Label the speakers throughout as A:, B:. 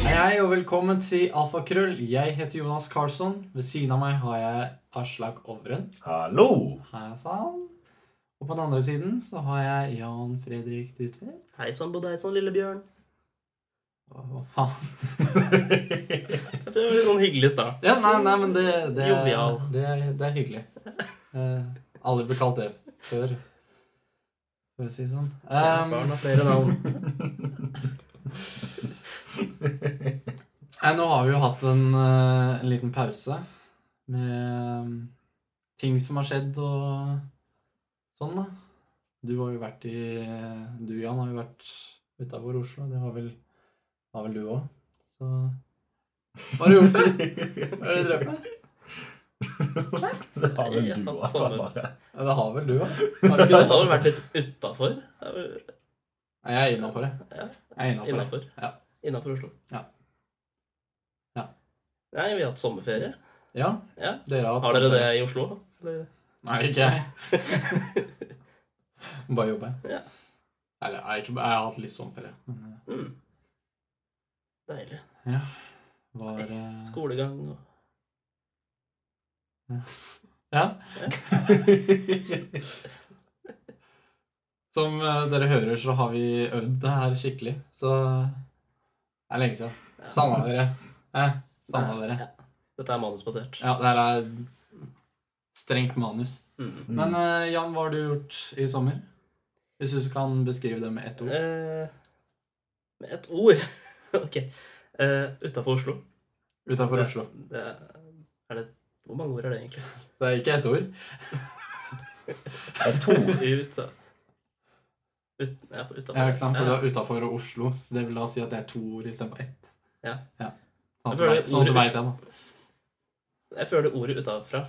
A: Hei og velkommen til Alfakrøll. Jeg heter Jonas Karlsson. Ved siden av meg har jeg Aslak Ovren.
B: Hallo!
A: Hei sann. Og på den andre siden så har jeg Jan Fredrik Dutvedt.
C: Hei sann, bodde hei sann, lille bjørn.
A: Hva faen?
C: Jeg føler Det var litt sånn hyggelig i stad.
A: Ja, nei, nei, men det, det, er,
C: Jovial.
A: det, er, det er hyggelig. Eh, aldri blitt kalt det før, for å si det sånn.
C: Kjært
A: Um,
C: Barn har flere navn.
A: Nei, nå har vi jo hatt en, eh, en liten pause med eh, ting som har skjedd og sånn, da. Du har jo vært i Du, Jan, har jo vært utafor Oslo. Det var vel, var vel du òg. Så Hva har du gjort? da? Hva er det du drev med?
B: Det har vel du
C: Jeg har hatt
B: også,
C: sommer.
B: bare.
A: Ja, det har vel du òg? Har du
C: Det
A: ikke det?
C: hadde vært litt utafor.
A: Nei, jeg er innafor det.
C: Ja,
A: Jeg er innafor det.
C: innafor.
A: Ja.
C: Innafor Oslo.
A: Ja. Ja.
C: Nei, vi har hatt sommerferie.
A: Ja,
C: Ja.
A: dere har hatt
C: Har dere
A: sånn-
C: det i Oslo? Eller?
A: Nei, ikke jeg. Bare jobbe.
C: Ja.
A: Eller jeg, er ikke, jeg har hatt litt sånn ferie. men, eh,
C: Mm. Deilig.
A: Var eh,
C: Skolegang og
A: Ja. Som eh, dere hører, så har vi øvd det her skikkelig. Så det er lenge siden.
C: ja.
A: Savna dere. Eh, Savna
C: Nei,
A: dere.
C: Ja. Dette er manusbasert.
A: Ja, det her er strengt manus.
C: Mm.
A: Men eh, Jan, hva har du gjort i sommer? Hvis du kan beskrive det med ett ord.
C: Eh, med et ord. ok. Uh, utafor Oslo.
A: Utafor Oslo.
C: Det er, er det Hvor mange ord er det egentlig?
A: Det er ikke ett ord.
B: Det er to.
C: Ut, så. Ut, ja, for utenfor.
A: Ja, ikke sant? For du
C: Ja.
A: er utafor Oslo, så det vil da si at det er to ord istedenfor ett.
C: Ja.
A: Sånn at
C: Jeg
A: du
C: føler
A: veit- sånn at du
C: ordet-
A: veit det, da.
C: Jeg føler ordet utafra.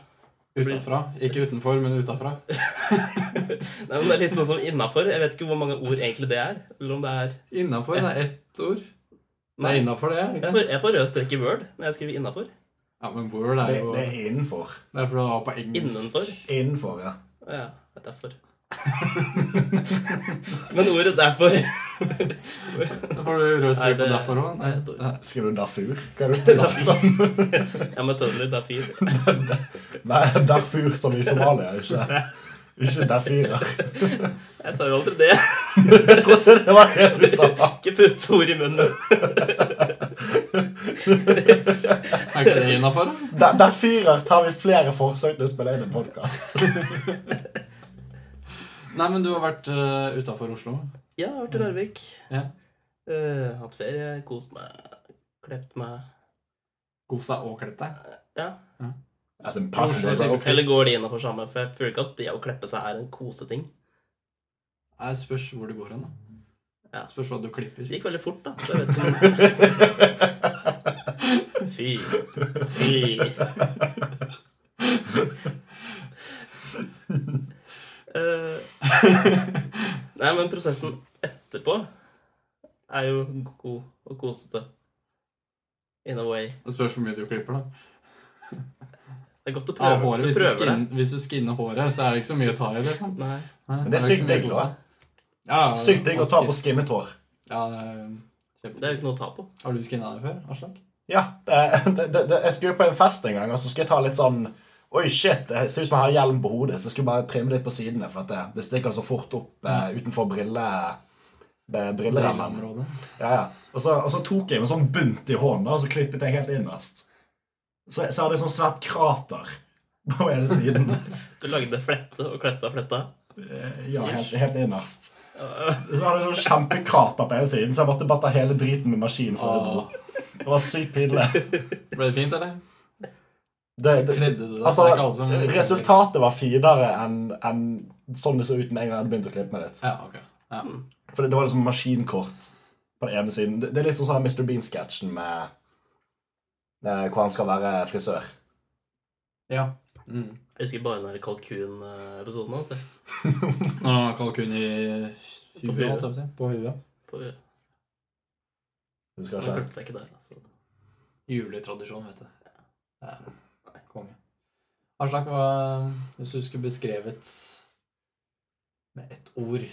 A: Utafra. Ikke utenfor, men utafra.
C: Nei, men det er litt sånn som innafor. Jeg vet ikke hvor mange ord egentlig det er. Eller om det er
A: Innafor det er ett ord. Det
C: Nei.
A: er innafor, det.
C: Jeg
A: ikke
C: får, jeg får rød strek i Word når jeg skriver innafor.
A: Ja, men Word er
B: Det,
A: eh, jo
B: det er innenfor.
A: Det er fordi det var på engelsk.
C: Innenfor.
B: Innenfor, ja.
C: Ja, det er derfor. men ordet derfor
A: Da får du rød
C: Er
A: strek på
C: det-
A: derfor òg.
C: Nei, jeg tror-
B: Skriver du Darfur? Hva er det du skriver Darfur som?
C: Ja, men tødler, det er fint.
B: Nei, Darfur som i Somalia, ikke, ikke Darfurer.
C: Jeg sa jo aldri det.
B: Jeg trodde det var det du sa.
C: Ikke putt ord i munnen.
A: Er ikke det innafor?
B: Da- Darfurer tar vi flere forsøk til å spille inn en podkast.
A: Nei, men du har vært uh, utafor Oslo.
C: Ja, jeg har vært i Larvik.
A: Mm. Ja.
C: Eh, hatt ferie, kost meg, klept meg.
A: Kost deg og klept deg.
C: Ja.
A: Oslo sier
B: Altså,
A: vi
B: passion,
A: Klept.
C: Eller går de innafor samme? For jeg føler ikke at det å kleppe seg er en koseting.
A: Jeg spørs hvor du går hen, da.
C: Ja.
A: Spørs hva du klipper.
C: Det gikk veldig fort, da. Så jeg vet ikke om Fy. Fy. Eh, nei, men prosessen etterpå er jo god og kosete. In a way.
A: Det spørs hvor mye du klipper, da.
C: Det er godt å prøve.
A: Av håret,
C: du
A: hvis, du
C: prøver det.
A: skinner, hvis du skinner håret, så er det ikke så mye å ta i. liksom.
C: Nei.
A: Nei,
B: Men det er
A: ikke
B: sykt
A: så mye
B: digg,
A: kose.
B: da.
A: Ja, ja,
B: Sykt digg å ta på
A: skin-
B: skinnet hår.
A: Ja, det er
C: Det er jo
A: kjempe-
C: ikke noe å ta på.
A: Har du skinna deg før, Aslak?
B: Ja, det, det, det, det- jeg skulle på en fest en gang, og så skulle jeg ta litt sånn Oi, shit, det ser ut som jeg har hjelm på hodet, så jeg skulle bare trimme litt på sidene, for at det, det stikker så fort opp eh, utenfor brille... eh, Brillerammen.
A: Brilleområdet.
B: Ja, ja. Og, så, og så tok jeg en sånn bunt i hånda, og så klippet jeg helt innerst. Så, så hadde jeg sånn svært krater på ene siden.
C: Du lagde flette og kletta og fletta.
B: Eh, Ja, helt, helt innerst. Så hadde jeg sånn kjempekrater på ene siden, så jeg måtte bare ta hele driten med maskinen før jeg dro.
A: Åh.
B: Det var sykt pinlig.
A: Ble det fint, eller?
B: Det, det,
A: Kledde du deg?
B: Altså,
A: Det er ikke alle som-
B: Resultatet var finere enn enn sånn det så ut med en gang jeg hadde begynt å klippe meg litt.
A: Ja, ok. Ja.
B: For det, det var liksom maskinkort på den ene siden. Det, det er liksom sånn Mr. Bean-sketsjen med, med hvor han skal være frisør.
A: ja. Mm.
C: Jeg husker bare den der kalkunepisoden hans. jeg.
A: Nå har han kalkun i
C: På
A: huet,
C: huet.
A: holdt jeg på å si. På huet.
C: På-
B: Husker
C: Han
B: jeg ikke.
C: klipte seg ikke der. Altså.
A: Juletradisjon, vet du. Ja. Konge. Aslak, hva, hvis du skulle beskrevet med ett ord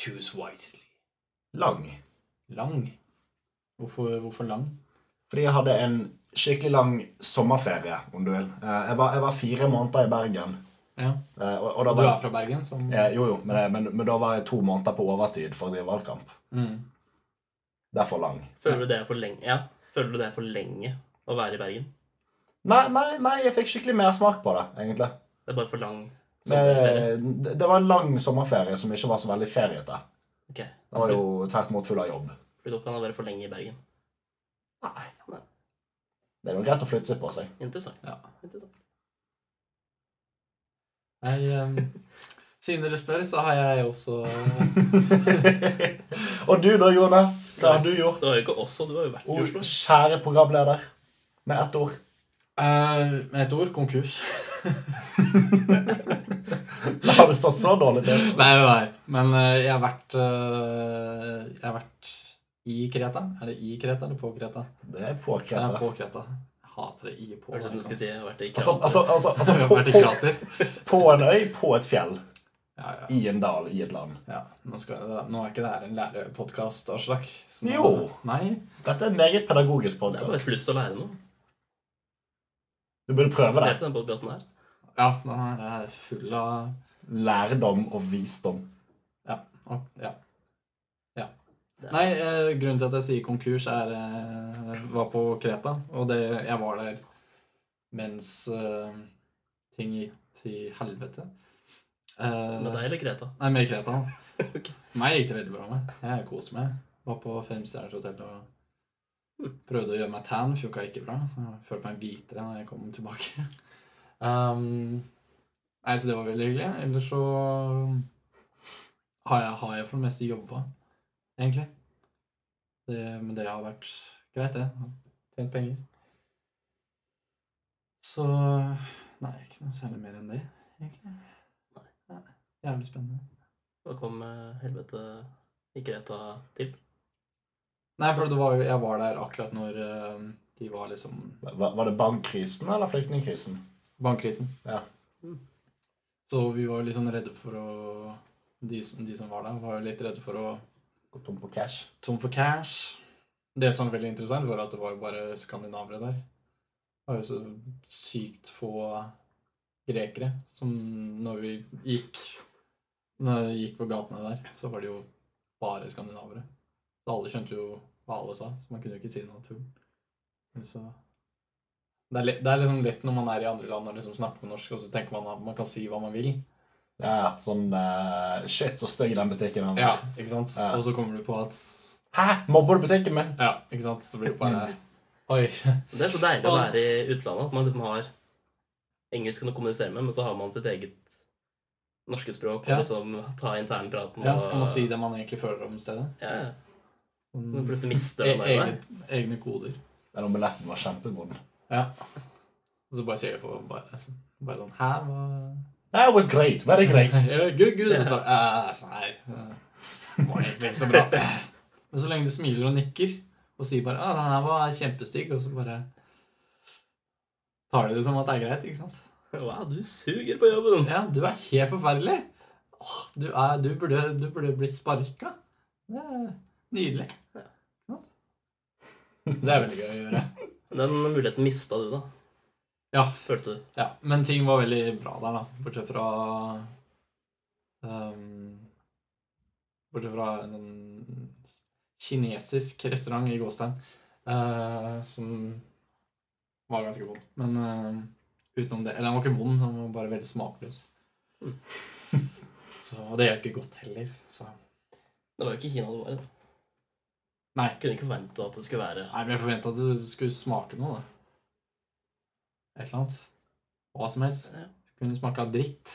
A: Choose wisely.
B: Lang.
A: Lang. Hvorfor, hvorfor lang?
B: Fordi jeg hadde en skikkelig lang sommerferie, om du vil. Eh, Jeg var, jeg var fire måneder i Bergen.
A: Ja.
B: eh, Og, og da
A: Og du
B: var,
A: er fra Bergen, som
B: eh, jo, jo, men, eh, men, men da var jeg to måneder på overtid for å drive valgkamp.
A: mm.
B: Det er for lang.
C: Føler du det er for lenge? Ja. Føler du det er for lenge å være i Bergen?
B: Nei, nei, nei, jeg fikk skikkelig mersmak på det, egentlig.
C: Det er bare for lang
A: eh,
C: sommerferie?
B: Det, Eh, det var en lang sommerferie som ikke var så veldig feriete.
C: Ok.
B: Den var jo tvert imot full av jobb.
C: For da kan det være for lenge i Bergen.
B: Nei. Det er jo greit å flytte seg på seg.
C: Interessant.
A: Ja.
C: Interessant.
A: Nei, em, Siden dere spør, så har jeg også
B: og du da, Jonas? Hva har du gjort?
C: Det var jo ikke oss, og du har jo vært i
B: Å,
C: Oslo.
B: kjære programleder. Med ett ord.
A: eh, Med et ord konkurs.
B: Det har det stått så dårlig til.
A: Nei, nei, nei. Men eh, jeg har vært eh, Jeg har vært i Kreta. Er det i Kreta eller på Kreta?
B: Det er påkreta.
A: Ja, på Kreta. Jeg hater det i på.
C: Hørtes ut som du skulle si jeg har vært i
B: Altså,
C: Krater.
B: altså, altså, altså
A: Vi har
B: på,
A: vært i
B: på,
A: krater.
B: på en øy, på et fjell.
A: Ja, ja.
B: I en dal, i et land.
A: ja. Nå, skal jeg, nå er ikke det her en lærepodkast, Aslak. så nå-
B: Jo.
A: Nei.
B: Dette er en meget pedagogisk
C: Det er bare
B: podkast.
C: et pluss å lære noe.
B: Du burde prøve
C: Se
B: det.
C: på den podkasten her.
A: Ja, den her er full av
B: Lærdom og visdom.
A: Å, Ja. ja.
C: Det er-
A: Nei, eh, grunnen til at jeg sier konkurs, er eh, jeg var på Kreta, og det, jeg var der mens eh, ting gikk til helvete. Eh,
C: Med deg eller Kreta?
A: Nei, med Kreta.
C: Ok.
A: Meg gikk det veldig bra med. Jeg koste meg. Var på femstjerners hotell og prøvde å gjøre meg tan. Funka ikke bra. Jeg Følte meg hvitere når jeg kom tilbake. Um, nei, så det var veldig hyggelig. Ellers så har jeg, har jeg for det meste jobba, egentlig. Det, men det har vært greit, det. Jeg har Tjent penger. Så Nei, ikke noe særlig mer enn det, egentlig. Nei. Jævlig spennende.
C: Hva kom eh, helvete i Kreta til?
A: Nei, for det var, jo- jeg var der akkurat når eh, de var liksom
B: Var, var det bankkrisen eller flyktningkrisen?
A: Bankkrisen.
B: Ja.
C: Mm.
A: Så vi var liksom redde for å de, som- de som var der, var jo litt redde for å
B: Gå tom på cash?
A: tom for cash. Det som var veldig interessant, var at det var jo bare skandinavere der. Det var jo så sykt få grekere som når vi gikk Når vi gikk på gatene der, så var det jo bare skandinavere. Så alle skjønte jo hva alle sa, så man kunne jo ikke si noe tull. Men Så det er, litt, det er liksom lett når man er i andre land og liksom snakker på norsk, og så tenker man at man kan si hva man vil.
B: Ja, ja, sånn eh, Shit, så stygg den butikken er.
A: Ja, ikke sant?
B: Ja.
A: Og så kommer du på at
B: Hæ? Mobber du butikken min?
A: Ja, ikke sant? Så blir det bare Oi.
C: Det er så deilig å
A: Og-
C: være i utlandet, at man liksom har engelsken å kommunisere med, men så har man sitt eget norske språk og
A: Ja.
C: liksom ta internpraten.
A: Ja,
C: og-
A: så kan man si det man egentlig føler om stedet.
C: Ja, ja. Men
A: Mm.
C: plutselig mister
A: E
C: man det.
A: egne, egne koder.
B: Den omeletten var kjempegod.
A: Og så bare sier det på bare, bare sånn Hæ? Hva
B: That was great. Very great.
A: Ja, Gud, gud. Og så bare «Æ, altså, Nei. Det var egentlig ikke så bra. Men så lenge du smiler og nikker og sier bare «Å, den her var kjempestygg', og så bare tar de det som at det er greit, ikke sant?
C: Wow, du suger på jobben!
A: Ja, du er helt forferdelig. Åh, du, er, du, burde, du burde blitt sparka. Det er nydelig. Så det er veldig gøy å gjøre.
C: Den muligheten mista du, da.
A: Ja.
C: Følte du.
A: Ja, men ting var veldig bra der, da. Bortsett fra ehm, Bortsett fra en sånn kinesisk restaurant i Gåstein, eh, som var ganske vond. Men eh, utenom det Eller den var ikke vond, den var bare veldig smakløs. Så, og det gjør ikke godt heller. Så.
C: Det var jo ikke Kina du var i. da.
A: Nei.
C: Kunne ikke forvente at det skulle være
A: Nei, men jeg forventa at det skulle smake noe, da. Et eller annet. Hva som helst.
C: Ja.
A: Kunne smake av dritt.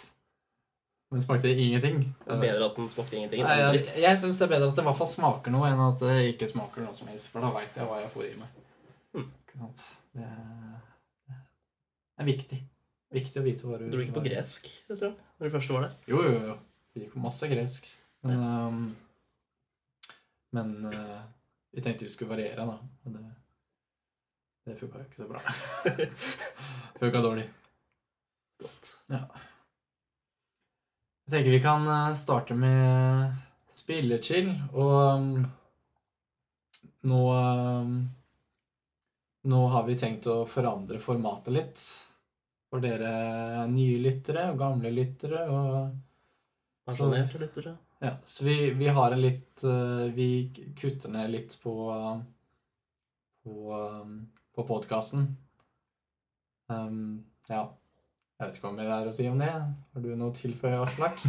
A: Men det smakte ingenting.
C: bedre at den smakte ingenting.
A: Nei,
C: enn
A: jeg
C: dritt.
A: jeg syns det er bedre at det i hvert fall smaker noe, enn at det ikke smaker noe som helst. For da veit jeg hva jeg får i meg.
C: Mm.
A: Ikke sant? Det er, det er viktig. Viktig å vite hva du
C: Dro du ikke på
A: hva-
C: gresk restaurant når du først var der?
A: Jo, jo, jo. Vi gikk på masse gresk. Men, ehm, men eh, vi tenkte vi skulle variere, da. Og det, det funka jo ikke så bra. funka dårlig.
C: Godt.
A: Ja. Jeg tenker vi kan eh, starte med spillechill og um, Nå eh, Nå har vi tenkt å forandre formatet litt. For dere nye lyttere og gamle lyttere. og
C: Pensjonerte lyttere.
A: ja, så vi, vi har en litt eh, Vi k- kutter ned litt på på, um, på podkasten. Um, ja. Jeg vet ikke hva mer det er å si om det. Har du noe å tilføye, Aslak?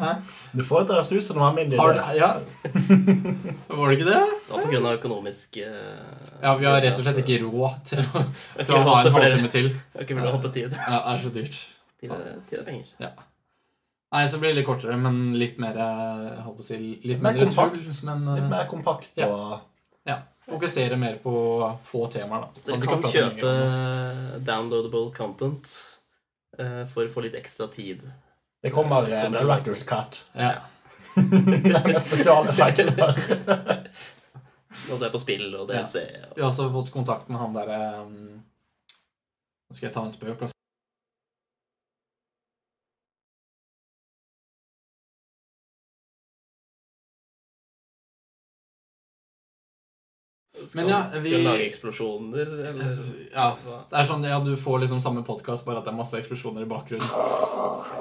A: Hæ?
B: Du får et rastus når man har min
A: Har du
B: idé.
A: Ja. Var det ikke det?
C: Det var på grunn av økonomisk eh,
A: Ja, vi har rett og slett ikke råd til å,
C: Jeg
A: til å
C: kunne
A: ha
C: hatt
A: en
C: det flere-
A: halvtime til.
C: Jeg kunne hatt det tid.
A: Ja, Sånn det er så dyrt.
C: Tid tid er penger.
A: Nei, så blir det litt kortere, men litt mer eh, jeg holdt på å si, litt
B: Mer
A: mindre
B: kompakt.
A: tull. Men eh,
B: Litt mer kompakt
A: Ja.
B: og
A: fokusere mer på få temaer, da.
C: Dere
A: vi
C: kan
A: prate mye
C: kjøpe eh,
A: om det.
C: downloadable content eh, for å få litt ekstra tid.
B: Det kommer eh, en
C: Kommer
B: Directors Cut.
A: Ja.
B: Med spesialeffekter.
C: Og så er jeg på spill og DLC.
A: Vi har også fått kontakt med han derre um, Nå skal jeg ta en spøk, altså.
C: Skal,
A: Men ja,
C: skal
A: vi- Eh,
C: vi lage eksplosjoner, eller?
A: Ja,
C: Altså,
A: det er sånn, ja, du får liksom samme podkast, bare at det er masse eksplosjoner i bakgrunnen. Ja.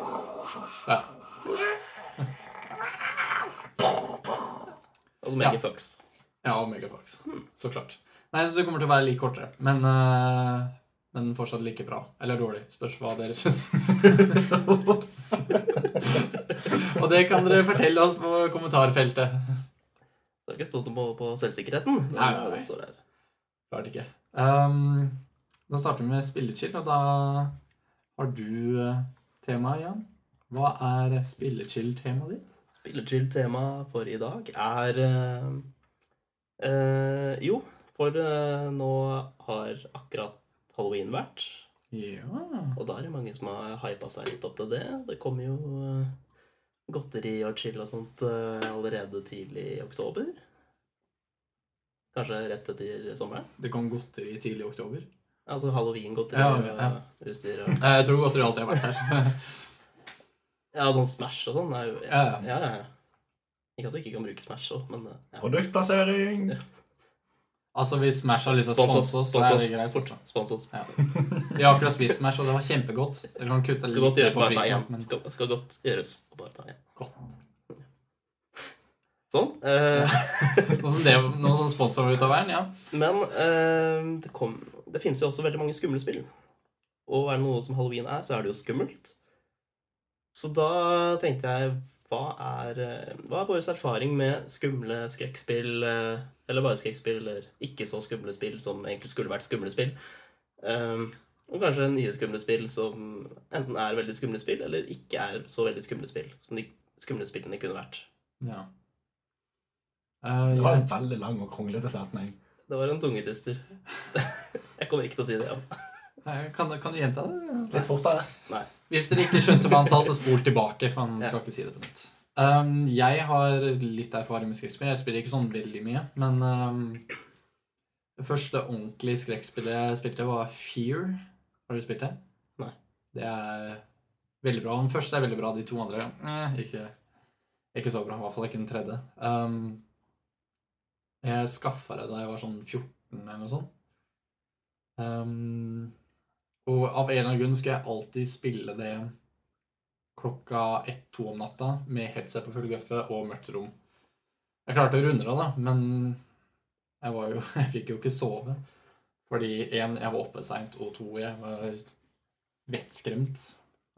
C: altså
A: Ja.
C: mega fucks.
A: Ja, og Megafax. Så klart. Nei, så det kommer til å være like kortere. Men, eh, men fortsatt like bra. Eller dårlig. Spørs hva dere syns. og det kan dere fortelle oss på kommentarfeltet.
C: Det har ikke stått noe på, på selvsikkerheten. men
A: Nei, nei, nei.
C: det står her.
A: Klart ikke. Ehm, da starter vi med spillechill, og da har du eh, temaet, Jan. Hva er spillechill-temaet ditt?
C: Spillechill-tema for i dag er eh, eh, Jo, for eh, nå har akkurat halloween vært.
A: Ja.
C: Og da er det mange som har hypa seg litt opp til det. Det kommer jo eh, godteri og chill og sånt eh, allerede tidlig i oktober. Kanskje rett etter sommeren.
A: Det kom godteri tidlig i oktober.
C: Altså halloween-godteri
A: Ja,
C: og
A: ja.
C: utstyr og
A: Eh, Jeg tror godteri alltid har vært her.
C: Ja, sånn Smash og sånn er jo ja,
A: Ja, ja.
C: ja, ja. Ikke at du ikke kan bruke Smash òg, men eh, ja.
B: Produktplassering.
A: Altså, hvis Smash har lyst til å
C: Spons oss,
A: sponse oss, så
C: spons
A: er
C: oss.
A: det greit. Fortsatt.
C: Spons oss.
A: Vi har akkurat spist Smash, og det var kjempegodt. Dere kan kutte
C: Skal godt
A: ned
C: gjøres å bare ta
A: prisen,
C: igjen.
A: men-
C: Skal, skal godt gjøres å bare ta igjen.
A: Godt.
C: Sånn. eh,
A: Noe som, det, noe som sponsor var ute av veien, ja.
C: Men eh, det, kom, det finnes jo også veldig mange skumle spill. Og er det noe som halloween er, så er det jo skummelt. Så da tenkte jeg hva er, eh, hva er vår erfaring med skumle skrekkspill, eh, eller bare skrekkspill, eller ikke så skumle spill som egentlig skulle vært skumle spill? Eh, og kanskje nye skumle spill som enten er veldig skumle spill, eller ikke er så veldig skumle spill som de skumle spillene kunne vært.
A: ja. Eh,
B: Det var
A: jeg,
B: en veldig lang og kronglete setning.
C: Det var en tungetwister. jeg kommer ikke til å si det. Ja.
A: eh, kan, kan du gjenta det?
B: Litt fortere.
C: Nei.
A: Hvis dere ikke skjønte hva han sa, så spol tilbake, for han skal ikke si det på nytt. Um, jeg har litt erfaring med skrekkspill. Jeg spiller ikke sånn veldig mye, men um, det første ordentlige skrekkspillet jeg spilte, var Fear. Har du spilt det?
C: Nei.
A: Det er veldig bra. Den første er veldig bra, de to andre eh, ikke, ikke så bra. I hvert fall ikke den tredje. Um, jeg skaffa det da jeg var sånn 14 eller noe sånt. Um, og av en eller annen grunn skal jeg alltid spille det klokka ett-to om natta med headset på full gøffe og mørkt rom. Jeg klarte å runde det, da, men jeg, var jo, jeg fikk jo ikke sove. Fordi én, jeg var oppe seint, og to, jeg var vettskremt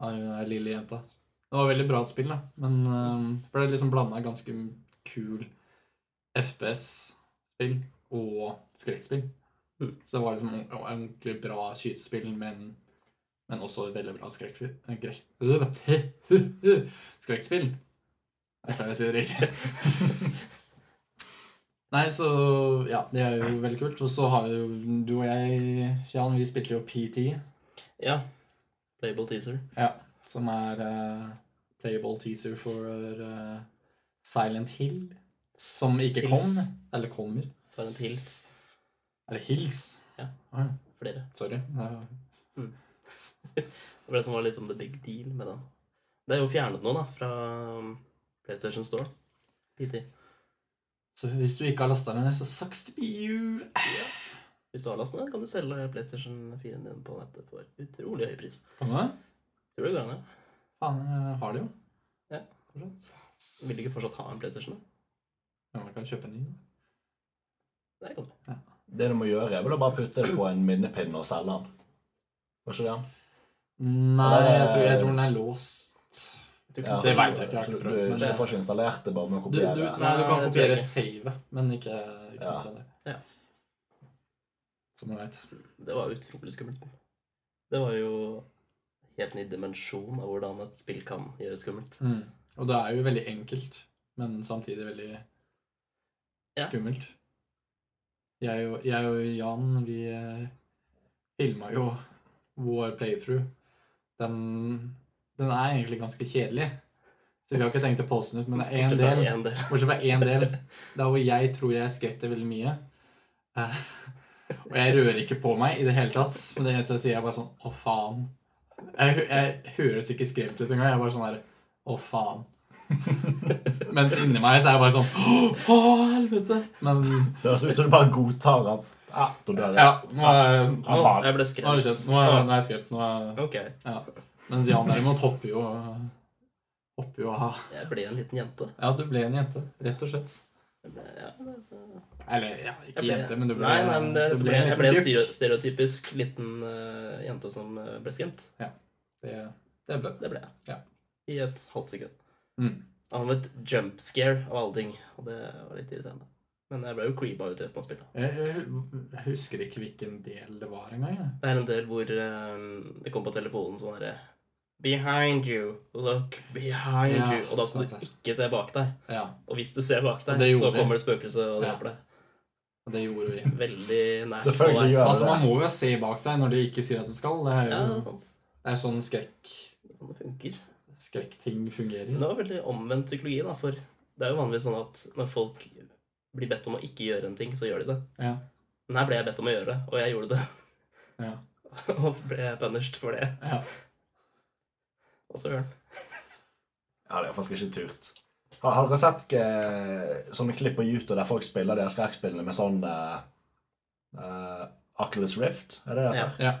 A: av den lille jenta. Det var veldig bra spill, da, men eh, For det liksom blanda ganske kul FPS-spill og skrekkspill. Så det var liksom en ordentlig bra skytespill, men, men også et veldig bra skrekkspill. Skrekkspill. Jeg klarer å si det riktig. Nei, så Ja, det er jo veldig kult. Og så har jo du og jeg, Jan, vi spilte jo PT,
C: Ja. Playable teaser.
A: som er eh, playable teaser for eh, Silent Hill, som ikke kom.
C: Hills.
A: Eller kommer.
C: Silent Hills.
A: Eller Hills.
C: Ja.
A: Ah,
C: Flere.
A: sorry. Det er-
C: Det var det som var liksom the big deal med den. Det er jo fjernet nå, da, fra um, PlayStation Store. PT.
A: Så hvis du ikke har lasta den ned, så sucks to be you.
C: Hvis du har lastet ned, kan du selge PlayStation 4-en din på nettet for utrolig høy pris.
A: Kan du det?
C: Tror du det går an, ja?
A: Faen, jeg har det jo.
C: Ja. Vil du ikke fortsatt ha en PlayStation? da?
A: Ja, man kan kjøpe en ny. da.
C: Det kan du.
B: Det du må gjøre, er vel å bare putte det på en minnepinne og selge den. Var ikke det han?
A: Nei, jeg tror, jeg tror den er låst.
C: Du
B: Ja.
A: Det vet jeg ikke, jeg har
B: Så
A: ikke
B: Du,
A: prøvd, men
B: du, du
A: det-
B: får ikke installert det bare med å
A: Du,
B: kopiere.
A: du, nei, du
C: Nei,
A: kan
C: det tror
A: kopiere
C: jeg ikke.
A: savet, men ikke, ikke
B: Ja.
A: noe av det.
C: Ja.
A: Som du vet.
C: Det var utrolig skummelt. Det var jo helt ny dimensjon av hvordan et spill kan gjøre skummelt.
A: Mm. Og det er jo veldig enkelt, men samtidig veldig
C: Ja.
A: skummelt. Jeg og, jeg og Jan, vi eh, filma jo vår playthrough. Den, den er egentlig ganske kjedelig, så vi har ikke tenkt å poste den ut, men det er
C: Bortsett
A: én
C: fra
A: del.
C: en del.
A: Bortsett fra én del. Der hvor jeg tror jeg skvetter veldig mye. Eh, og jeg rører ikke på meg i det hele tatt. Men det eneste jeg sier, er bare sånn Å, faen. Jeg, hø- jeg høres ikke skremt ut engang. Jeg er bare sånn der Å, faen. Men inni meg så er jeg bare sånn Å, faen, helvete. Men
B: Det høres ut som du bare godtar at ja, da dør jeg.
A: ja, nå er, nå,
B: Ja,
A: nå
B: faen.
C: Jeg ble
A: er det skjedd.
C: skremt.
A: Nå er, nå er jeg skremt. Nå er,
C: Ok,
A: ja. Mens Jan derimot hopper jo Hopper jo av.
C: jeg ble en liten jente.
A: Ja, du ble en jente, rett og slett.
C: Jeg ble, ja, det-
A: Eller ja, ikke
C: Jeg ble-
A: jente, men du ble,
C: nei, nei, men det,
A: du
C: ble, jeg
A: liten
C: ble en
A: gutt.
C: stereo- stereotypisk liten eh, jente som eh, ble skremt.
A: Det, det ble det.
C: Det ble jeg.
A: Ja.
C: I et halvt sekund.
A: Mm.
C: Han var et jump scare av alle ting, og det var litt irriterende. Men jeg ble jo creepa ut resten av spillet.
A: Jeg, jeg hu- jeg husker ikke hvilken del det var engang. jeg.
C: Det er en del hvor eh, det kom på telefonen sånn herre Behind you, look behind
A: Ja,
C: you. Og da skal
A: sant
C: du
A: det.
C: ikke se bak deg.
A: Ja,
C: Og hvis du ser bak deg,
A: Det
C: så
A: gjorde vi.
C: kommer det spøkelse og
A: Ja.
C: dreper deg.
A: og det gjorde vi.
C: Veldig nært på
B: Selvfølgelig
C: deg.
B: gjør
A: Altså, Man
B: det det.
A: må jo se bak seg når de ikke sier at du skal. Det er
C: Ja,
A: jo
C: sånn.
A: det er sånn skrekk
C: sånn det funker.
A: skrekkting
C: Men
A: fungerer.
C: det var veldig omvendt psykologi, da, for det er jo vanligvis sånn at når folk blir bedt om å ikke gjøre en ting, så gjør de det.
A: Ja.
C: Men her ble jeg bedt om å gjøre det, og jeg gjorde det.
A: Ja.
C: og ble punished for det.
A: Ja.
C: Og så gjør han.
B: Ja, det er faktisk ikke turt. Har, har dere sett eh, sånne klipp på YouTube der folk spiller de her skrekkspillene med sånn eh, eh, Oculus Rift? Er det det?
C: Ja.
B: heter?
A: Ja.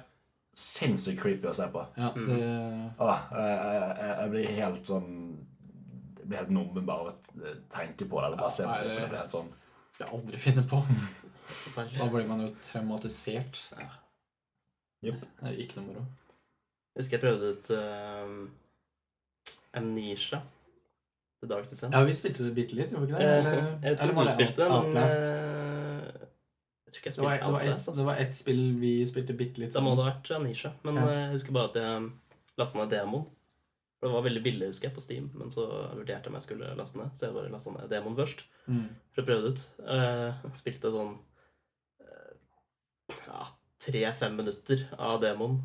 B: Sinnssykt creepy å se på.
A: ja,
C: Mm.
A: det,
B: Åh, jeg, jeg, jeg- jeg blir helt sånn Jeg blir helt nummen bare av å tenke på det. Eller
A: Ja,
B: bare se på
A: nei,
B: det.
A: det-
B: Det blir helt sånn
A: skal jeg aldri finne på. Da
C: Forferdelig.
A: blir man jo traumatisert.
C: Ja.
B: Jupp.
A: Det er ikke noe moro.
C: Jeg husker jeg prøvde ut eh, Amnesia. The Dark Descent.
A: Ja, vi spilte det bitte litt, gjorde vi ikke det?
C: Eh,
A: Eller,
C: jeg tror
A: eller
C: ikke
A: var
C: du
A: det
C: spilte, men
A: Outlast?
C: eh, Jeg tror ikke jeg
A: Det var, det,
C: spilte
A: var
C: Outlast.
A: et,
C: Altså.
A: det var ett spill vi spilte bitte litt.
C: Da må det ha vært Amnesia. Men
A: Ja.
C: eh, jeg husker bare at jeg lasta ned demoen. For Det var veldig billig, husker jeg, på Steam, men så vurderte jeg om jeg skulle laste ned. Så jeg bare lasta ned demoen først.
A: Mm.
C: For å prøve det ut. Eh, spilte sånn eh, ja, tre-fem minutter av demoen.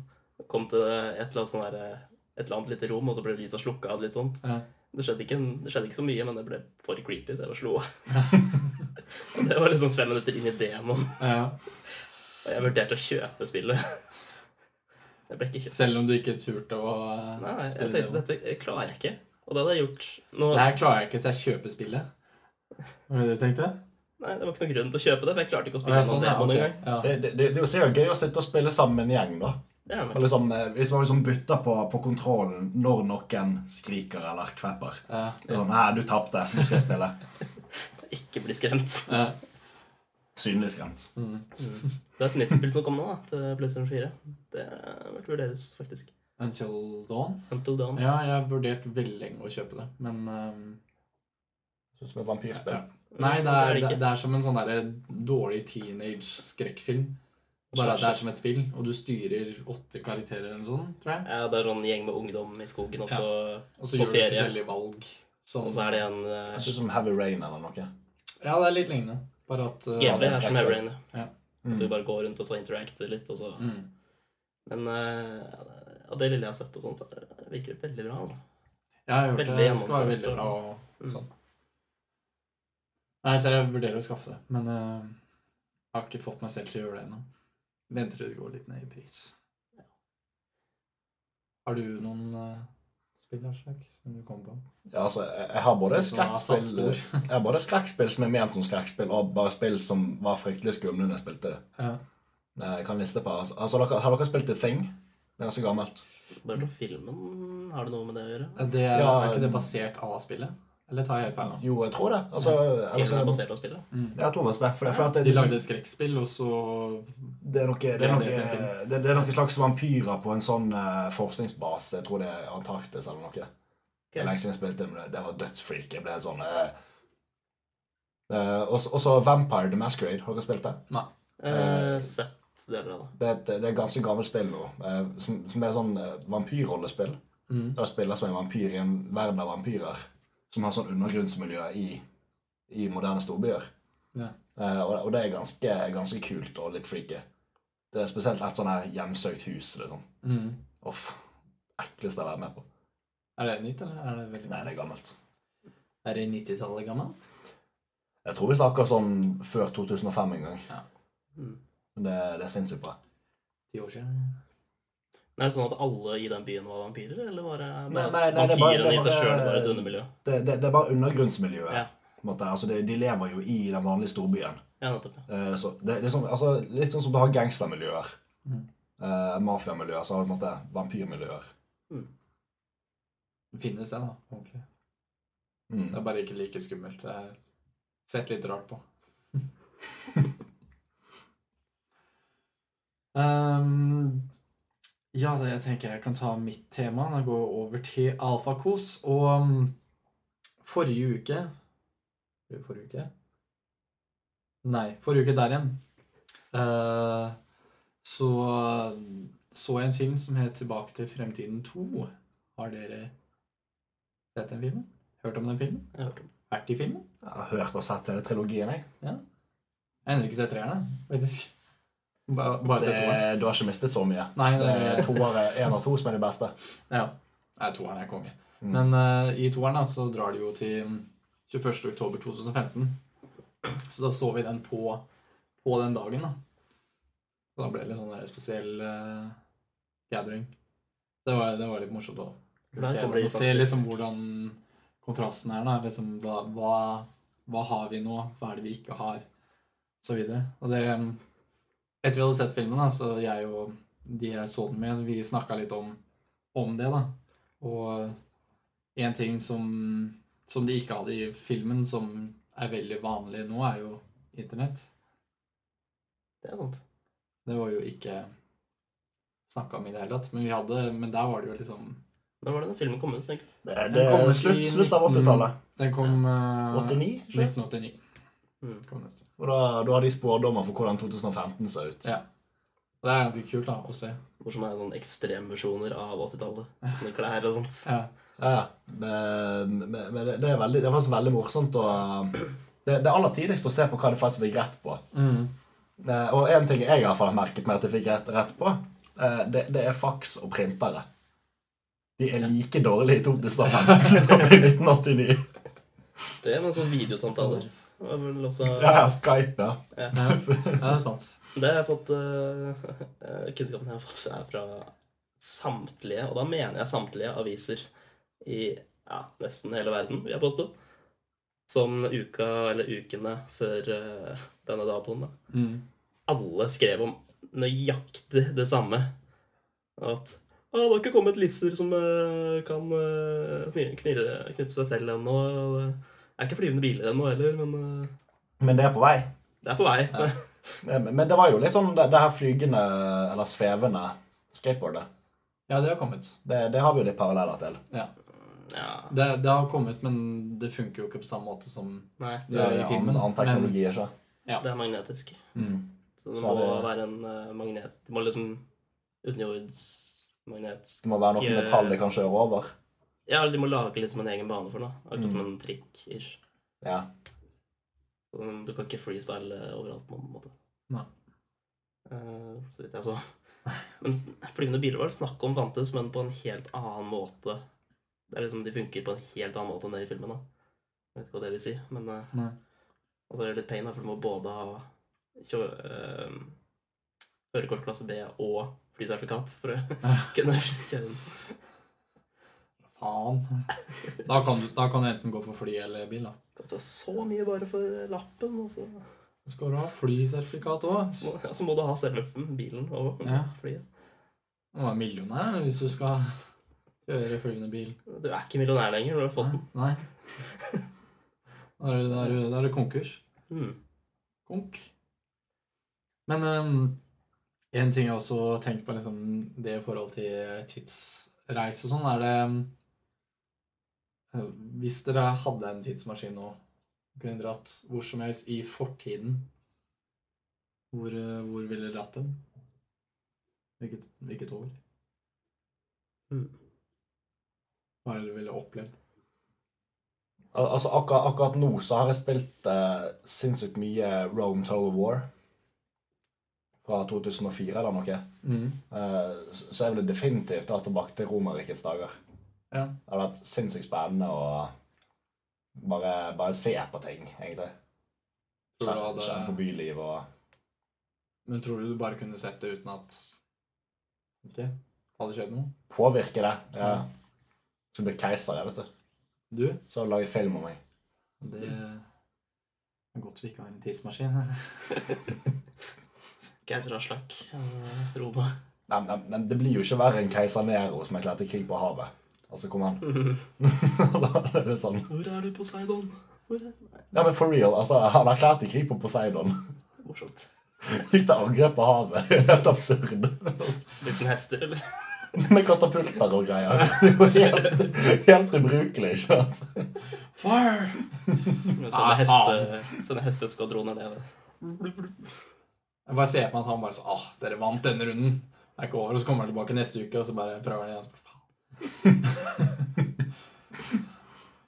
C: Kom til et eller annet sånn der, eh, et eller annet lite rom, og så ble lyset slukka av litt sånt.
A: Ja.
C: Det, skjedde ikke, en- det skjedde ikke så mye, men det ble for creepy, så jeg bare slo av. Og det var liksom fem minutter inn i demoen.
A: Ja.
C: Og jeg vurderte å kjøpe spillet. Jeg ble ikke kjøpt.
A: Selv om du ikke turte å eh,
C: Nei, jeg
A: spille
C: tenkte
A: demo.
C: dette jeg klarer jeg ikke. Og det hadde jeg gjort nå.
A: Det her klarer jeg ikke, så jeg kjøper spillet. Var det det du tenkte?
C: Nei, det var ikke noen grunn til å kjøpe det, for jeg klarte ikke å
A: Å, ja,
C: spille
A: sånn,
C: noen
A: ja,
C: demoen
A: ok.
C: engang.
A: ja.
B: det, det, det er jo sikkert gøy å sitte og spille sammen med en gjeng, da.
C: Det er
B: Og
C: nok.
B: liksom, eh, hvis man liksom bytter på, på kontrollen når noen skriker eller kvepper.
A: Ja.
B: Det er Sånn, Nei, du tapte. Nå skal jeg spille.
C: Ikke bli skremt.
A: Ja.
B: Synlig skremt.
A: Mm.
C: Det er et nytt spill som kom nå, da, til PlayStation 4. Det vurderes faktisk.
A: Until Dawn?
C: Until Dawn.
A: Ja, jeg har vurdert veldig lenge å kjøpe det, men ehm,
B: Sånn som et vampyrspill.
A: ja.
C: Mm,
A: Nei, det er, det,
C: ikke.
A: det er som en sånn der dårlig teenage-skrekkfilm. Bare at det er som et spill, og du styrer åtte karakterer eller noe sånt, tror jeg.
C: Ja, det er sånn gjeng med ungdom i skogen, og så,
A: Og så
C: På
A: gjør du
C: ferie.
A: forskjellige valg. Som,
C: og så er det en eh,
B: Jeg synes som Heavy Rain eller noe.
A: Ja, det er litt lignende. Bare at eh,
B: Ja,
C: gameplay
B: det er
C: her som
B: skrekkfilm.
C: Heavy Rain.
A: Ja.
C: At du
B: Mm.
C: bare går rundt og så interacter litt, og så
A: mm.
C: Men eh, ja, det- ja, det lille jeg har sett, og sånn, så er det- virker det veldig bra. altså.
A: Jeg har hørt
C: Veldig
A: det. Det skal være
C: gjennomført,
A: veldig bra. Og,
C: Mm.
A: sånn. Nei, så jeg vurderer å skaffe det, men eh, jeg har ikke fått meg selv til å gjøre det ennå. Venter til det går litt ned i pris. Har du noen eh, spillersak som du kom på.
B: Ja, altså, jeg jeg har både
A: Som har satt
B: skrekkspill
A: spor.
B: Jeg har både skrekkspill som er ment som skrekkspill, og bare spill som var fryktelig skumle når jeg spilte det.
A: Ja.
B: Eh, Jeg kan liste på altså, altså, dere- Har dere spilt The Thing? Det er ganske gammelt.
C: Bare
B: Mm.
C: til filmen har det noe med det å gjøre?
B: Eh,
A: Det er,
B: Ja,
A: er ikke det
B: um,
A: basert av spillet? Eller tar jeg helt feil nå? Mm.
B: Jo, jeg tror det. Altså,
C: Filmen er
B: altså,
C: basert på spillet?
B: jeg tror visst det. For, det- for at det,
A: De lagde et skrekkspill, og så
B: det, er noe, det, er
A: Ja,
B: noe,
A: det er
B: det,
A: Tintin.
B: det er noen slags vampyrer på en sånn eh, forskningsbase. Jeg tror det er Antarktis eller noe. Det er lenge siden jeg spilte, men det- det var dødsfreak. Jeg ble helt sånn eh. Eh, Og så- og så Vampire The Masquerade. Har dere spilt det?
C: Eh, sett deler av det.
B: Det er et, det er et ganske gammelt spill nå, eh, som, som er sånn eh, vampyrrollespill.
A: mm.
B: Der spiller som en vampyr i en verden av vampyrer, som har sånn undergrunnsmiljø i, i moderne storbyer.
A: Ja.
B: Eh, og, og det er ganske, ganske kult og litt freaky. Det er spesielt et sånn her hjemsøkt hus, liksom.
A: Mm.
B: Uff. Ekleste jeg har vært med på.
A: Er det nytt, eller er det veldig
B: Nei, det er gammelt.
A: Er det 90-tallet gammelt?
B: Jeg tror vi snakker sånn før 2005 en gang.
C: Mm.
B: Det, det er sinnssykt bra.
A: Ti år siden?
C: Men Er det sånn at alle i den byen var vampyrer, eller var det
B: Nei, nei, nei,
C: bare
B: det er bare-
C: vampyrene
B: det er
C: i seg sjøl
B: bare-
C: var et undermiljø?
B: Det, det, det er bare undergrunnsmiljøet.
C: Ja.
B: på en måte. Altså, det, de lever jo i den vanlige storbyen.
C: Ja, nettopp. ja.
B: Eh, Så det er liksom, altså, litt sånn som du har gangstermiljøer.
A: Mhm.
B: Eh, Mafiamiljøer, så har du på en måte vampyrmiljøer.
C: Mm.
A: Finnes det, da. Ordentlig.
B: Mm.
A: Det er bare ikke like skummelt. Det er sett litt rart på. um, ja, det, jeg tenker jeg kan ta mitt tema. Da går jeg over til alfakos. Og um, forrige uke Var det Forrige uke? Nei, forrige uke der igjen. eh, så så jeg en film som het 'Tilbake til fremtiden 2'. Har dere sett den filmen? Hørt om den filmen?
C: Jeg hørte om det.
A: Vært i filmen?
B: Jeg har hørt og sett hele trilogien, jeg.
A: Jeg har ennå ikke sett treerne, faktisk. Bare, bare
B: Det,
A: sett toeren.
B: du har ikke mistet så mye.
A: Nei,
B: Det
A: det
B: er
A: er,
B: toere, en av to som er de beste.
A: ja. Nei, toeren er konge.
B: Mm.
A: Men eh, i toeren da, så drar de jo til mm, 21. oktober 2015. Så da så vi den på, på den dagen, da. Så da ble det litt sånn der spesiell eh, gathering. Det var, det var litt morsomt å
C: Der
A: se,
C: kommer de
A: se
C: faktisk-
A: liksom hvordan kontrasten er, da. Liksom hva, hva, hva har vi nå? Hva er det vi ikke har? Og så videre. Og det mm, Etter vi hadde sett filmen, da, så jeg og de jeg så den med, vi snakka litt om, om det, da. Og en ting som, som de ikke hadde i filmen, som er veldig vanlig nå, er jo internett.
C: Det er sant.
A: Det var jo ikke snakka om i det hele tatt. Men, vi hadde, men der var det jo liksom
C: Når var det den filmen kom ut? tenker jeg?
B: Det, det,
A: Den kom
B: er
A: ut
B: slutt,
A: i
B: slutt av
A: 19
B: 80-tallet.
A: Den kom eh,
B: 89? ikke?
A: 1989.
C: Mm.
A: Kom den ut.
B: Og da, da har de spådommer for hvordan 2015 ser ut.
A: Ja. Og det er ganske kult da, å se.
C: Hvor som er sånn ekstremversjoner av 80-tallet. Med klær og sånt.
A: Ja.
B: Ja, men, men men det, det, er veldig, det er faktisk veldig morsomt å det, det er aller tidligst å se på hva de faktisk fikk rett på.
A: Mm.
B: Eh, Og en ting jeg i hvert fall har merket meg at jeg fikk rett, rett på, eh, det, det er faks og printere. De er like dårlige i 2005 som i 1989.
C: Det med sånne videosamtaler. Det var vel også,
B: Ja, ja, Skype, ja.
A: Ja. ja, det er sant.
C: Det har jeg fått eh, Kunnskapen jeg har fått, er fra samtlige, og da mener jeg samtlige aviser i ja, nesten hele verden, vil jeg påstå. Som uka eller ukene før eh, denne datoen, da.
A: Mm.
C: Alle skrev om nøyaktig det samme. At «Å, det har ikke kommet lisser som eh, kan eh, sni- knirre, knytte seg selv ennå. og Det er ikke flyvende biler ennå heller, men eh,
B: Men det er på vei.
C: det er på vei.
A: Ja.
B: Men men det var jo litt sånn det, det her flygende, eller svevende skateboardet.
A: Ja, det har kommet.
B: Det, det har vi jo litt paralleller til.
C: ja.
A: Det, det har kommet, men det funker jo ikke på samme måte som
C: Nei,
A: det gjør i filmen.
B: annen
A: Men,
B: teknologi, ikke?
C: det er magnetisk.
A: mm.
C: Så det
B: Så
C: må
B: er det-
C: være en eh, magnet Det må liksom underjordsmagnet
B: Det må være noe metall de kan kjøre over.
C: Ja, eller de må lage liksom en egen bane for noe. Akkurat som
B: Mm.
C: en trikk-ish.
B: Ja.
C: Sånn, Du kan ikke freestyle overalt på en måte.
A: Nei.
C: Eh, så vidt jeg så. Men flyvende biler var det snakk om fantes, men på en helt annen måte. Det er liksom, De funker på en helt annen måte enn det i filmen. da. Jeg vet ikke hva det vil si, men eh,
A: Nei.
C: Og så er det litt pain, da, for du må både ha kjø- eh, førerkort klasse B og flysertifikat for å kunne kjøre den.
A: Faen. Da kan, du, da kan du enten gå for fly eller bil, da.
C: Kosta så mye bare for lappen. altså. Og så,
A: Så skal du ha flysertifikat òg.
C: så, må, ja, så må du ha selve bilen og
A: Ja.
C: flyet.
A: Du må være millionær eller, hvis du skal kjøre flyvende bil.
C: Du er ikke millionær lenger når du har fått den.
A: Nei. Da er det, da er det, da er det konkurs.
C: Mm.
A: Konk. Men én ting jeg også tenker på, liksom, det i forhold til tidsreise og sånn, er det eh, Hvis dere hadde en tidsmaskin nå, og kunne dratt hvor som helst i fortiden, hvor, eh, hvor ville dere dratt den? Hvilket, hvilket år?
C: Mm.
A: Hva er det du ville opplevd?
B: Al altså akkurat, akkurat nå så har jeg spilt eh, sinnssykt mye Rome Total War. Fra 2004 eller noe.
A: Mm.
B: Eh, så så jeg ville definitivt dra tilbake til Romerrikets dager.
A: Ja.
B: Det hadde vært sinnssykt spennende å bare, bare se på ting, egentlig.
A: Tror du
B: Kjenne,
A: hadde-
B: kjenne på byliv og
A: Men tror du du bare kunne sett det uten at Ikke? Hadde skjedd noe?
B: påvirke det. Ja.
A: Ja.
B: Så bli keiser, jeg, vet du.
A: Du?
B: Så lage film om meg.
A: Det er godt vi ikke har en tidsmaskin.
C: Geiser Aslak. eh, Roma.
B: Nei, nei, nei, det blir jo ikke verre enn keiser Nero som erklærte krig på havet. Altså, kom an. så det er sånn
C: Hvor er du, Poseidon? Hvor er
B: Ja, men for real, altså, han erklærte krig på Poseidon.
C: Morsomt.
B: Gikk til angrep på havet. Det er Helt absurd.
C: Liten hester, eller?
B: Med katapulter og greier. Det var helt, helt ubrukelig. ikke sant?
A: Fire!
C: Sånne,
A: Ah,
C: heste, sånne hesteskvadroner nede.
A: Jeg bare ser for meg at han bare så, ah, dere vant denne runden. Det er ikke over, og så kommer han tilbake neste uke, og så bare prøver han igjen. Så bare, faen.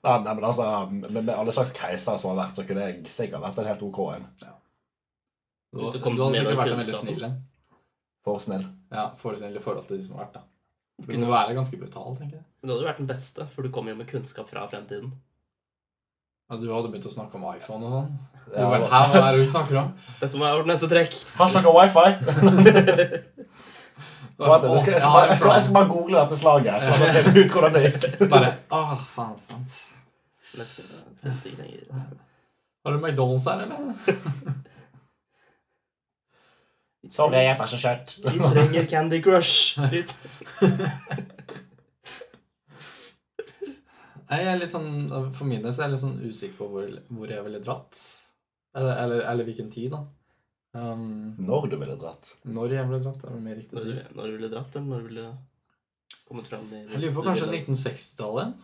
B: Nei, nei, men altså, med, med alle slags keiser som har vært, så kunne jeg sikkert vært en helt OK en.
A: Du,
C: Hvis
A: du,
C: du kom
A: hadde
C: med den
A: sikkert vært en veldig
C: kunnskapen.
A: snill en.
B: For snill.
A: Ja, for snill i forhold til de som har vært, da. Du kunne være ganske brutal, tenker jeg.
C: Men du hadde jo vært den beste, for du kom jo med kunnskap fra fremtiden.
A: Altså, du hadde begynt å snakke om iPhone og sånn. Du
B: Ja,
A: bare, hæ, hva er det du snakker om?
C: Dette må jeg ordne neste trekk.
B: Har dere wifi?
A: Du er sånn,
B: Jeg
A: «Åh,
B: skal, jeg,
A: jeg
B: skal
A: har
B: bare, jeg, skal, jeg skal bare google dette slaget. her, så jeg finner ut hvordan det gikk.
A: iPhone». Så bare, ah, faen, sant.
C: Men, eh, finnes ikke lenger.
A: Har du McDonald's her, eller? Sånn
B: Sorry, jeg spiser ikke kjøtt.
C: Vi trenger Candy Crush. Vi tre-
A: Nei, jeg er litt sånn, For min del så er jeg litt sånn usikker på hvor, hvor jeg ville dratt. Eller, eller, eller hvilken tid, da. Um,
B: Når du ville dratt.
A: når jeg ble dratt, er det mer riktig å
C: Når
A: si.
C: du- når du ville dratt, eller når du ville kommet fram i
A: Jeg lurer på
C: du
A: kanskje
C: ville-
A: 1960-tallet.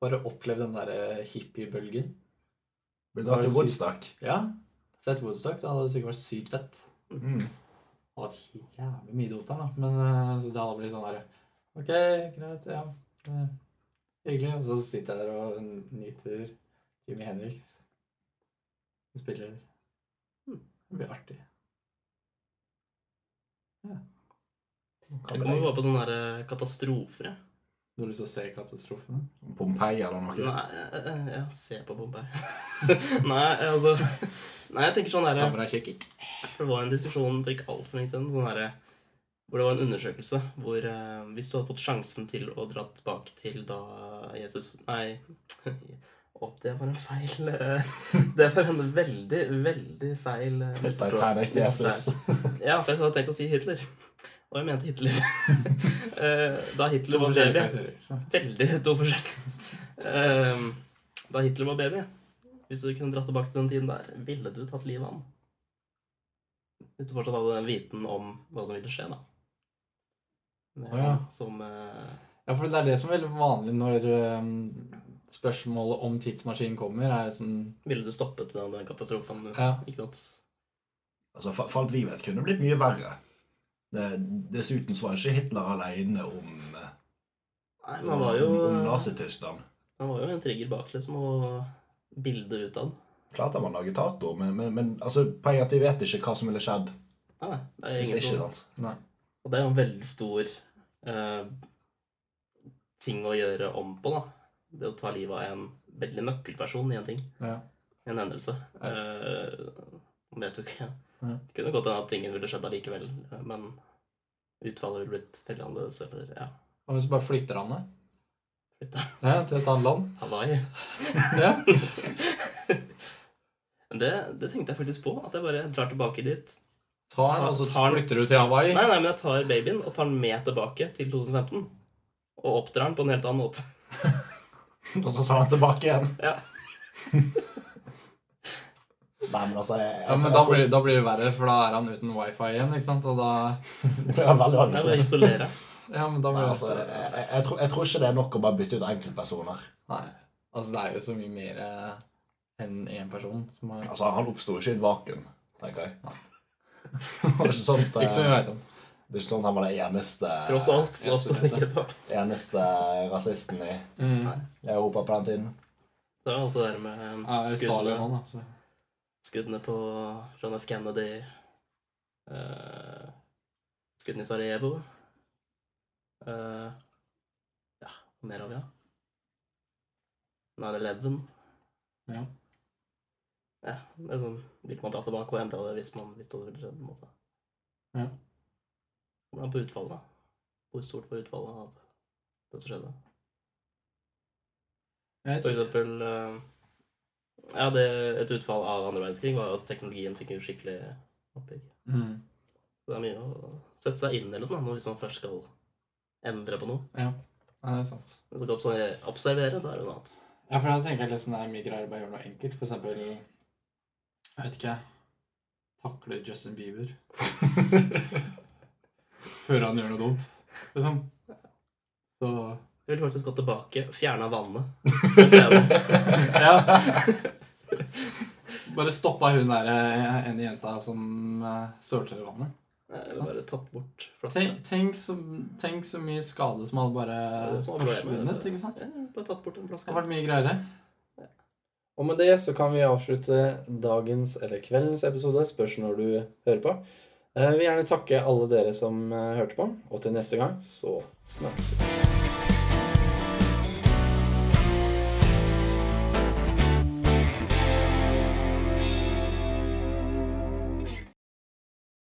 A: Bare opplevd den derre hippiebølgen.
B: Ville du dratt til Woodstock?
A: Ja. Sett Woodstock, det hadde sikkert vært sykt fett.
B: Mm.
A: Det hadde vært jævlig mye dot der, da. Men eh, så det hadde blitt sånn derre Ok, greit, ja. eh, hyggelig. Og så sitter jeg der og nyter Jimmy Henrik. Spiller.
C: Hmm.
A: Det blir artig.
C: Jeg kommer bare på sånne der, eh, katastrofer. jeg.
A: Du har lyst til å se katastrofene?
C: sånn-
B: Pompeii eller noe?
C: Nei, eh, ja, se på Bombay. Nei, altså Nei, jeg tenker sånn derre
A: Kamera kikkert.
C: For det var en diskusjon for ikke altfor lenge siden sånn her, hvor det var en undersøkelse hvor eh, hvis du hadde fått sjansen til å dra tilbake til da Jesus Nei. Å, det var en feil eh, Det var en veldig, veldig feil eh,
B: Titanic, Jesus.
C: Ja, for jeg hadde tenkt å si Hitler. Og jeg mente Hitler. Eh, da Hitler var baby Veldig to forskjellige. Ehm, da Hitler var baby, hvis du kunne dratt tilbake til den tiden der, ville du tatt livet av ham? Hvis du fortsatt hadde den viten om hva som ville skje, da. Med,
A: Å ja.
C: Som eh,
A: Ja, for det er det som er veldig vanlig når um, spørsmålet om tidsmaskinen kommer, er sånn
C: Ville du stoppet den, den katastrofen?
A: Ja.
C: Ikke sant?
B: Altså, for, for alt vi vet, kunne det blitt mye verre. Det, dessuten så var ikke Hitler alene om, eh,
C: Nei, men han
B: om,
C: var jo eh,
B: om Nazi-Tyskland.
C: Han var jo en trigger bak, liksom, og bildet ut av den.
B: Klart han var en agitator, men, men, men altså, poenget er at vi vet ikke hva som ville skjedd
C: Nei, nei, det er
B: hvis
C: ingen
B: ikke.
C: som
B: sant?
C: Og det er jo en veldig stor eh, ting å gjøre om på, da. Det å ta livet av en veldig nøkkelperson i en ting.
A: Ja.
C: En hendelse.
A: Ja.
C: Eh, Om vet jo ikke.
A: Ja.
C: Det kunne godt hende at ingen ville skjedd allikevel, eh, men utfallet ville blitt veldig annerledes. Eller, ja.
A: Og hvis du bare flytter han det, Det er til et annet land.
C: Hawaii.
A: Ja.
C: Men det, det tenkte jeg faktisk på. At jeg bare drar tilbake dit.
A: Tar den, og så flytter du til Hawaii.
C: Nei, nei, men jeg tar babyen og tar den med tilbake til 2015. Og oppdrar den på en helt annen måte.
B: Og så sa han tilbake igjen.
C: Ja.
B: Nei, men altså jeg,
A: Ja, men da blir, da blir det verre, for da er han uten wifi igjen, ikke sant? Og da
B: Det er veldig
C: Jeg bare
B: aggressivt.
C: isolerer.
A: Ja, men da
B: Nei,
A: blir det
B: altså, jeg, jeg, jeg, tror, jeg tror ikke det er nok å bare bytte ut enkeltpersoner.
A: Nei. Altså, det er jo så mye mer eh, enn én person som har
B: Altså, Han oppsto ikke i et vakuum, tenker jeg. Det er ikke sånn at,
A: Ikke som vi vet om.
B: det er ikke sånn at han var den eneste,
C: Tross alt. Så oppstår det ikke et bak.
B: eneste rasisten i
A: Mm.
B: Europa på den tiden.
C: Det var alt det der med eh,
A: Ja, i Stalin
C: skuddene,
A: òg, da. Så.
C: skuddene på John F. Kennedy. eh, skuddene i Sarajevo. eh, ja, hva mer har vi, da? 9-11.
A: Ja.
C: Ja, det er sånn, Vil man dra tilbake og endre det hvis man visste det ville skjedd? på en måte?
A: Ja.
C: Hvordan på utfallet? da? Hvor stort var utfallet av det som skjedde?
A: Jeg
C: For
A: tror-
C: eksempel eh, Ja, det, et utfall av andre verdenskrig var jo at teknologien fikk en skikkelig oppbygg.
A: Mm.
C: Så Det er mye å sette seg inn i litt, da, når- hvis man først skal endre på noe.
A: Ja, det er sant.
C: Hvis man skal obs- observere, da er det noe annet.
A: Ja, for da tenker jeg liksom det er mye greier å bare gjøre noe enkelt. For eksempel Jeg vet ikke Takle Justin Bieber før han gjør noe dumt. Liksom. Så
C: Jeg ville faktisk gått tilbake, fjerna vannet. Og se om-
A: Ja. Bare stoppa hun der eh, ene jenta som eh, sølte i vannet.
C: Nei, Jeg ville bare tatt bort flaska.
A: Tenk, tenk, så, tenk så mye skade som hadde bare
C: Det er det som er problemet.
A: forsvunnet, ikke sant?
C: Ja,
A: Det
C: Bare tatt bort en flaske.
A: hadde vært mye greiere.
D: Og med det så kan vi avslutte dagens eller kveldens episode. Spørs når du hører på. eh, Jeg vil gjerne takke alle dere som eh, hørte på, og til neste gang så snakkes vi.